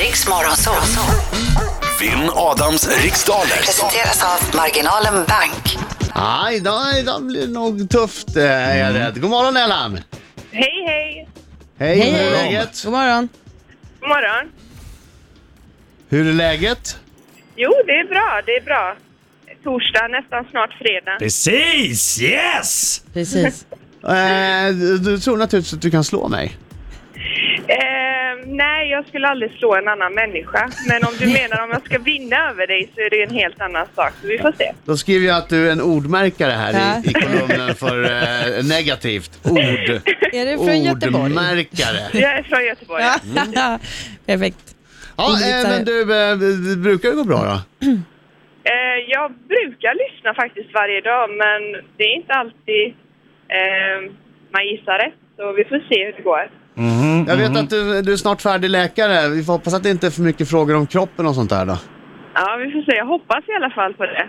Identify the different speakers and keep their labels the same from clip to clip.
Speaker 1: Riks Morgonzoo.
Speaker 2: Vinn Adams riksdaler.
Speaker 1: Presenteras av Marginalen Bank.
Speaker 3: Aj då, aj då blir det nog tufft eh, är jag rädd. God morgon Ellen!
Speaker 4: Hej, hej!
Speaker 3: Hej, hur är läget?
Speaker 5: God morgon.
Speaker 4: God morgon!
Speaker 3: Hur är läget?
Speaker 4: Jo, det är bra, det är bra. Torsdag, nästan snart fredag.
Speaker 6: Precis! Yes!
Speaker 5: Precis.
Speaker 3: Eh, du- du tror naturligtvis att du kan slå mig.
Speaker 4: Eh, nej, jag skulle aldrig slå en annan människa. Men om du menar om jag ska vinna över dig så är det en helt annan sak. Så vi får se.
Speaker 3: Då skriver jag att du är en ordmärkare här i, i
Speaker 5: Ja.
Speaker 3: kolumnen för eh, negativt. Ord.
Speaker 5: Är du från Göteborg?
Speaker 3: Ordmärkare.
Speaker 4: Jag är från Göteborg. Ja.
Speaker 5: Perfekt.
Speaker 3: Ja, eh, men du, eh, det brukar det gå bra då?
Speaker 4: Eh, jag brukar lyssna faktiskt varje dag, men det är inte alltid eh, man gissar rätt. Så vi får se hur det går.
Speaker 3: Jag vet att du, du är snart färdig läkare. Vi får hoppas att det inte är för mycket frågor om kroppen och sånt där då.
Speaker 4: Ja, vi får se. Jag hoppas i alla fall på det.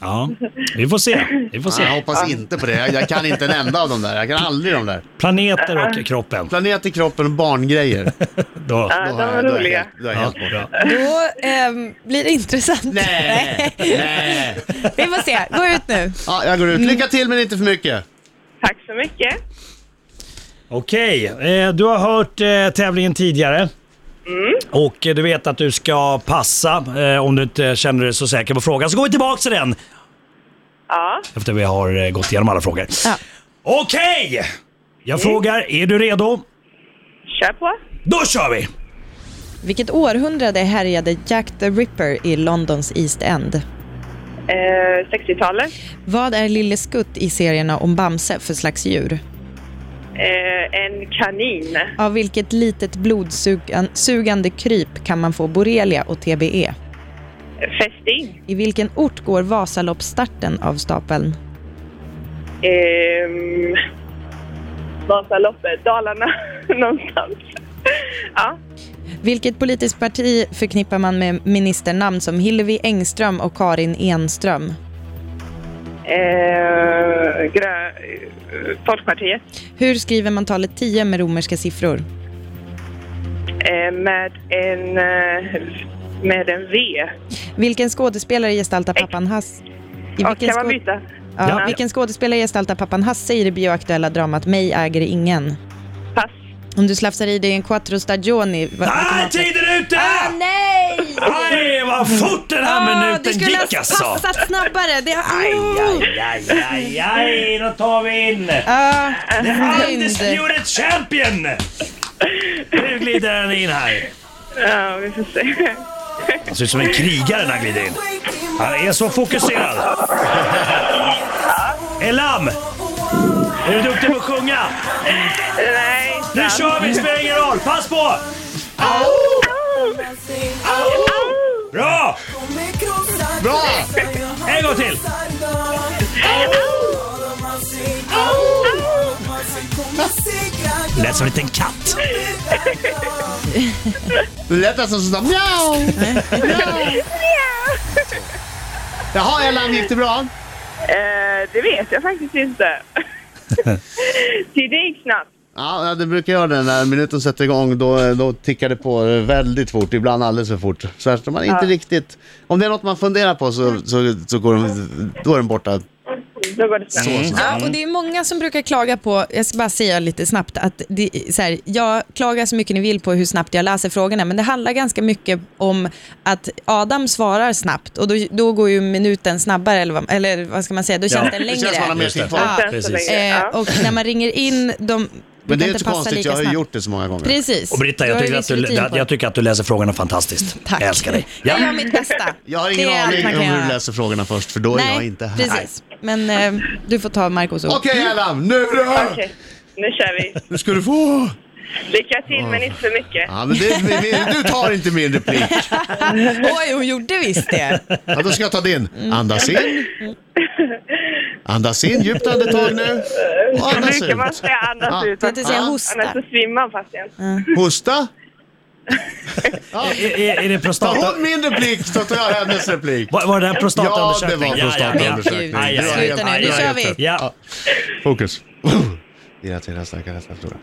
Speaker 6: Ja, vi får se. Vi får
Speaker 3: Så jag
Speaker 6: se.
Speaker 3: hoppas inte på det. Jag, jag kan inte en enda av de där. Jag kan aldrig de där.
Speaker 6: Planeter och kroppen.
Speaker 3: Planet i kroppen och barngrejer.
Speaker 6: Då.
Speaker 4: Ja,
Speaker 3: Då
Speaker 4: de
Speaker 3: har jag- då
Speaker 4: var
Speaker 3: har jag
Speaker 4: roliga.
Speaker 3: helt- då har jag
Speaker 6: Ja,
Speaker 3: helt bort.
Speaker 6: bra.
Speaker 5: Då ehm, blir det intressant.
Speaker 3: Nej, nej.
Speaker 5: Vi får se. Gå ut nu.
Speaker 3: Ja, jag går ut. Lycka till men inte för mycket.
Speaker 4: Tack så mycket.
Speaker 6: Okej, eh, du har hört eh, tävlingen tidigare.
Speaker 5: Mm.
Speaker 6: Och eh, du vet att du ska passa eh, om du inte känner dig så säker på frågan. Så går vi tillbaka till den
Speaker 4: Ja,
Speaker 6: efter vi har eh, gått igenom alla frågor.
Speaker 5: Ja. Mm.
Speaker 6: Okej! Jag frågar, är du redo?
Speaker 4: kör på.
Speaker 6: Då kör vi!
Speaker 5: Vilket århundrade härjade Jack the Ripper i Londons East End?
Speaker 4: Eh, 60-talet.
Speaker 5: Vad är Lille Skutt i serierna om Bamse för slags djur?
Speaker 4: Eh, en kanin.
Speaker 5: Av vilket litet blodsugande kryp kan man få borrelia och TBE?
Speaker 4: Fästing.
Speaker 5: I vilken ort går Vasaloppsstarten av stapeln?
Speaker 4: Ehm, Vasaloppet. Dalarna. Någonstans. ja.
Speaker 5: Vilket politiskt parti förknippar man med ministernamn som Hillevi Engström och Karin Enström?
Speaker 4: Eh, grö, eh, Folkpartiet.
Speaker 5: Hur skriver man talet 10 med romerska siffror?
Speaker 4: Eh, med en... Eh, med en V.
Speaker 5: Vilken skådespelare gestaltar pappan Hass? I
Speaker 4: Ja, kan man
Speaker 5: skå-
Speaker 4: byta?
Speaker 5: Ja,
Speaker 6: Ja.
Speaker 5: Vilken skådespelare gestaltar pappan Hasse i det bioaktuella dramat Mig äger ingen?
Speaker 4: Pass.
Speaker 5: Om du slafsar i dig en quattro stagioni... vad-
Speaker 6: Ah, tiden är ute!
Speaker 5: Ah, nej!
Speaker 6: Aj, vad fort den här
Speaker 5: Ah, du
Speaker 6: minuten
Speaker 5: skulle ha
Speaker 6: gick alltså!
Speaker 5: passat snabbare! Det...
Speaker 6: Aj,
Speaker 5: Oh!
Speaker 6: aj, aj, aj, aj, då tar vi in
Speaker 5: Ah,
Speaker 6: the
Speaker 5: synd.
Speaker 6: undisputed champion! Nu glider han in här.
Speaker 4: Ja, vi får se.
Speaker 6: Han ser ut som en krigare när han glider in. Han är så fokuserad. Elam! Är du duktig på att sjunga?
Speaker 4: Nej.
Speaker 6: Nu kör vi, spelar ingen roll. Pass på! Bra!
Speaker 3: Bra!
Speaker 6: En gång till! Lät som en liten katt.
Speaker 3: Det lät nästan som sådär mjau. mjau. Jaha Ellen, gick det bra?
Speaker 4: Eh, det vet jag faktiskt inte. det gick snabbt.
Speaker 3: Ja, det brukar göra det när minuten sätter igång. Då, då tickar det på väldigt fort, ibland alldeles för fort. Så här, man inte riktigt... Om det är något man funderar på så, så, så går den, då är den borta.
Speaker 4: Då går det snabbt.
Speaker 3: Mm.
Speaker 5: Ja, och det är många som brukar klaga på, jag ska bara säga lite snabbt, att det, så här, jag klagar så mycket ni vill på hur snabbt jag läser frågorna, men det handlar ganska mycket om att Adam svarar snabbt och då, då går ju minuten snabbare, eller vad, eller vad ska man säga, då känns
Speaker 6: Ja,
Speaker 5: den
Speaker 3: Det känns som man har
Speaker 5: längre.
Speaker 3: mer
Speaker 6: Just
Speaker 3: tid
Speaker 6: det.
Speaker 3: på.
Speaker 5: Ja.
Speaker 4: Sen så
Speaker 6: precis.
Speaker 4: länge.
Speaker 5: Eh,
Speaker 4: Ja.
Speaker 5: och när man ringer in, de
Speaker 3: Men
Speaker 5: brukar
Speaker 3: det är
Speaker 5: inte
Speaker 3: inte
Speaker 5: passa
Speaker 3: konstigt,
Speaker 5: lika
Speaker 3: jag har ju
Speaker 5: snabbt.
Speaker 3: gjort det så många gånger.
Speaker 5: Precis.
Speaker 6: Och Britta,
Speaker 5: Då
Speaker 6: jag
Speaker 5: har
Speaker 6: tycker,
Speaker 5: du
Speaker 6: att du,
Speaker 5: viss rutin på
Speaker 6: jag
Speaker 5: det.
Speaker 6: tycker att du läser frågorna fantastiskt.
Speaker 5: Tack.
Speaker 6: Jag älskar dig. Ja.
Speaker 5: Jag gör mitt bästa.
Speaker 3: Jag har
Speaker 5: Det
Speaker 3: ingen
Speaker 5: är allt
Speaker 3: aning
Speaker 5: man
Speaker 3: om
Speaker 5: kan
Speaker 3: hur du
Speaker 5: göra.
Speaker 3: läser frågorna först, för då är jag inte här.
Speaker 5: precis. Mm. Men eh, du får ta Marcos ord.
Speaker 3: Okej Ellen, nu då!
Speaker 4: Okej, nu kör vi.
Speaker 3: Nu ska du få!
Speaker 4: Lycka till, men inte för mycket.
Speaker 3: Ja, men det, vi- vi- du tar inte min replik.
Speaker 5: Oj, hon gjorde visst det.
Speaker 3: Ja, då ska jag ta din. Andas in. Andas in, djupt andetag nu. Och
Speaker 4: Nu
Speaker 3: andas
Speaker 4: kan man
Speaker 3: ut.
Speaker 4: säga andas
Speaker 3: Ja.
Speaker 4: ut.
Speaker 5: Jag tänkte säga
Speaker 3: Ja.
Speaker 5: hosta.
Speaker 4: Annars så svimmar patienten.
Speaker 3: Hosta.
Speaker 6: Är, är, är det
Speaker 3: Tar
Speaker 6: prostata...
Speaker 3: hon min replik så tar jag hennes replik.
Speaker 6: Var, var det där prostataundersökning?
Speaker 3: Ja, det var prostataundersökning.
Speaker 5: Ja, ja, ja.
Speaker 6: Du har helt-
Speaker 5: Sluta nu,
Speaker 6: ja,
Speaker 5: nu
Speaker 6: ja,
Speaker 5: kör
Speaker 6: ja.
Speaker 5: vi.
Speaker 6: Ja.
Speaker 3: Fokus. Irriterad stackare, nästa fråga.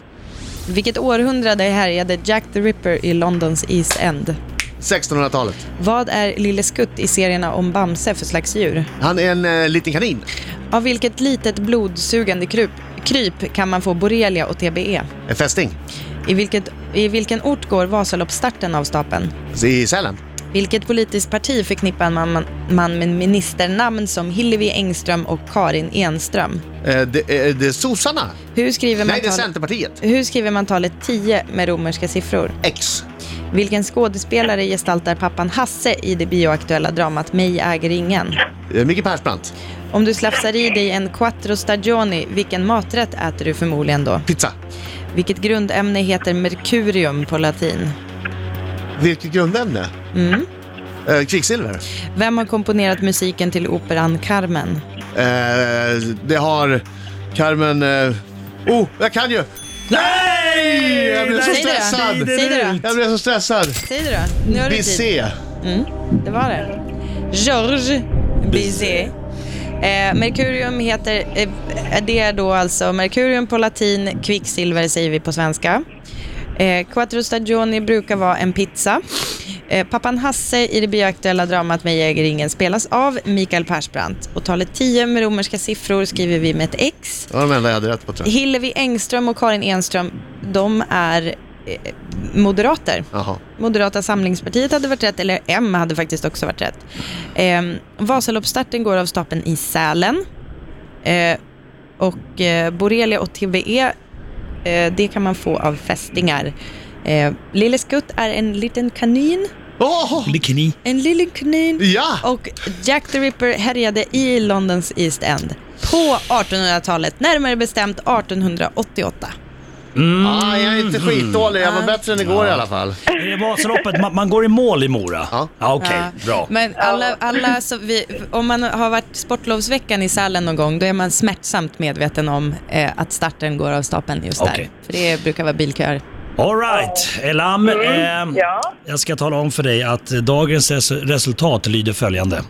Speaker 5: Vilket århundrade härjade Jack the Ripper i Londons East End?
Speaker 3: 1600-talet.
Speaker 5: Vad är Lille Skutt i serierna om Bamse för slags djur?
Speaker 3: Han är en eh, liten kanin.
Speaker 5: Av vilket litet blodsugande kryp, kryp kan man få borrelia och TBE?
Speaker 3: En fästing.
Speaker 5: I, vilket, I vilken ort går Vasaloppsstarten av stapeln?
Speaker 3: I Sälen.
Speaker 5: Vilket politiskt parti förknippar man, man med ministernamn som Hillevi Engström och Karin Enström?
Speaker 3: Eh, det, eh, det är sossarna.
Speaker 5: Hur skriver man,
Speaker 3: Nej, det är
Speaker 5: tal-
Speaker 3: Centerpartiet.
Speaker 5: hur skriver man talet 10 med romerska siffror?
Speaker 3: X.
Speaker 5: Vilken skådespelare gestaltar pappan Hasse i det bioaktuella dramat Mig äger ingen?
Speaker 3: Eh, Micke Persbrandt.
Speaker 5: Om du slafsar i dig en quattro stagioni, vilken maträtt äter du förmodligen då?
Speaker 3: Pizza.
Speaker 5: Vilket grundämne heter merkurium på latin?
Speaker 3: Vilket grundämne? Eh, kvicksilver.
Speaker 5: Vem har komponerat musiken till operan Carmen?
Speaker 3: Eh, det har Carmen... Eh, oh, jag kan ju!
Speaker 6: Nej!
Speaker 3: Jag blev så
Speaker 5: Säg det då.
Speaker 3: stressad!
Speaker 5: Säg det då.
Speaker 3: Jag blev så stressad.
Speaker 5: Säg det då. Nu har du tid.
Speaker 3: Bizet.
Speaker 5: Det var det. Georges Bizet. Eh, merkurium heter... Eh, det är då alltså merkurium på latin, kvicksilver säger vi på svenska. Eh, quattro stagioni brukar vara en pizza. Eh, pappan Hasse i det bioaktuella dramat Mig äger ingen spelas av Mikael Persbrandt. Och talet 10 med romerska siffror skriver vi med ett X.
Speaker 3: Det var de enda jag hade rätt på tror jag.
Speaker 5: Hillevi Engström och Karin Enström, de är eh, moderater.
Speaker 3: Jaha.
Speaker 5: Moderata samlingspartiet hade varit rätt, eller M hade faktiskt också varit rätt. Eh, Vasaloppsstarten går av stapeln i Sälen. Eh, och eh, borrelia och TBE, eh, det kan man få av fästingar. Eh, Lille Skutt är en liten kanin.
Speaker 3: Åh!
Speaker 6: Bikini.
Speaker 5: En liten kanin.
Speaker 3: Ja!
Speaker 5: Och Jack the Ripper härjade i Londons East End på 1800-talet, närmare bestämt 1888.
Speaker 3: Ah, jag är inte skitdålig, jag var bättre än igår i alla fall.
Speaker 6: Är det Vasaloppet? Man, man går i mål i Mora?
Speaker 3: Ja.
Speaker 6: Okej, bra.
Speaker 5: Men alla, alla så vi, om man har varit sportlovsveckan i Sälen någon gång, då är man smärtsamt medveten om eh, att starten går av stapeln just där.
Speaker 6: Okej.
Speaker 5: För det brukar vara bilköer.
Speaker 6: Alright, Elam. ehm,
Speaker 4: Ja.
Speaker 6: Jag ska tala om för dig att dagens res- resultat lyder följande.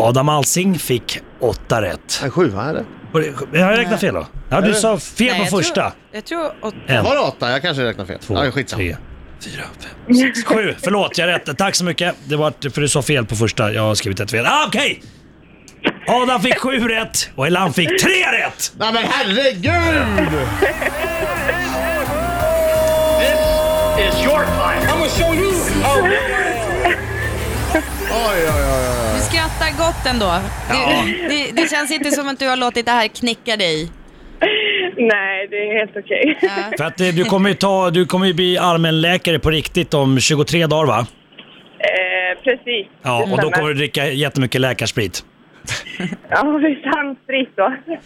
Speaker 6: Adam Alsing fick åtta rätt.
Speaker 3: En sjua eller?
Speaker 6: Var det- Har jag räknat fel då? Ja, du sa fel på
Speaker 5: jag tror-
Speaker 6: första.
Speaker 5: Jag tror åt,
Speaker 6: En,
Speaker 3: Var det åtta? Jag kanske räknar fel.
Speaker 6: två,
Speaker 3: ja, skitsamma.
Speaker 6: tre, fyra, fem, sex, sju. Förlåt, jag rättade. Tack så mycket. Det var för du sa fel på första. Jag har skrivit ett fel. Ah, Okej! Adam fick sju rätt och Elam fick tre rätt!
Speaker 3: Nej men herregud! Oj, oj, oj.
Speaker 5: du skrattar gott ändå.
Speaker 6: Ja.
Speaker 5: Det, det, det känns inte som att du har låtit det här knäcka dig.
Speaker 4: Nej, det är helt okej.
Speaker 6: För att eh, du kommer ju, ta, du kommer ju bli allmänläkare på riktigt om 23 dagar va?
Speaker 4: Eh, precis.
Speaker 6: Ja, och då
Speaker 4: Detsamma.
Speaker 6: kommer du dricka jättemycket läkarsprit.
Speaker 4: Ja, det är sant. Sprit då.
Speaker 3: Men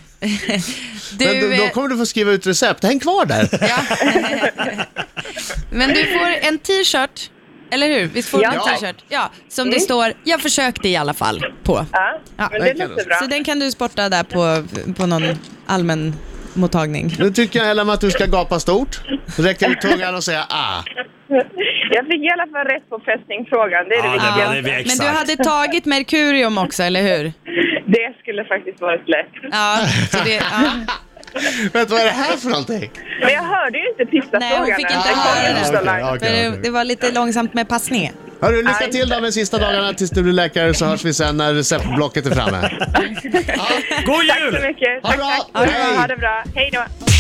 Speaker 5: Du,
Speaker 3: då,
Speaker 5: eh,
Speaker 3: då kommer du få skriva ut recept. Häng kvar där.
Speaker 5: Ja. Men du får en t-shirt, eller hur? Visst får du
Speaker 4: Ja.
Speaker 5: en t-shirt? Ja, Mm. som det står “Jag försökte i alla fall” på.
Speaker 4: Ja,
Speaker 5: Ja.
Speaker 4: men det
Speaker 3: verkligen.
Speaker 4: låter bra.
Speaker 5: Så den kan du sporta där på, på någon allmän mottagning.
Speaker 3: Nu tycker jag Ellen att du ska gapa stort, räcka ut tungan och säga ah.
Speaker 4: Jag fick i alla fall rätt på fästingfrågan. Det är det
Speaker 6: Ja, det
Speaker 4: viktigaste.
Speaker 6: blir det vi
Speaker 5: Men du
Speaker 6: exakt.
Speaker 5: hade tagit Merkurium också, eller hur?
Speaker 4: Det skulle faktiskt varit lätt.
Speaker 5: Ja, så det, ja.
Speaker 3: Vet du vad är det här för någonting?
Speaker 4: Men jag hörde ju inte pizzafrågan.
Speaker 5: Nej, hon fick
Speaker 4: än.
Speaker 5: inte
Speaker 4: Den kom
Speaker 5: höra
Speaker 4: inte så
Speaker 5: den.
Speaker 4: långt.
Speaker 3: okej,
Speaker 5: Men
Speaker 3: okej,
Speaker 5: det, det
Speaker 3: okej.
Speaker 5: var lite långsamt med passningen.
Speaker 3: Hörru, lycka till då med sista dagarna tills du blir läkare så hörs vi sen när receptblocket är framme.
Speaker 6: God
Speaker 4: Tack så
Speaker 6: jul!
Speaker 4: mycket.
Speaker 3: Ha
Speaker 4: Tack,
Speaker 3: bra.
Speaker 4: tack.
Speaker 3: Hej.
Speaker 4: Ha det bra. Hej då.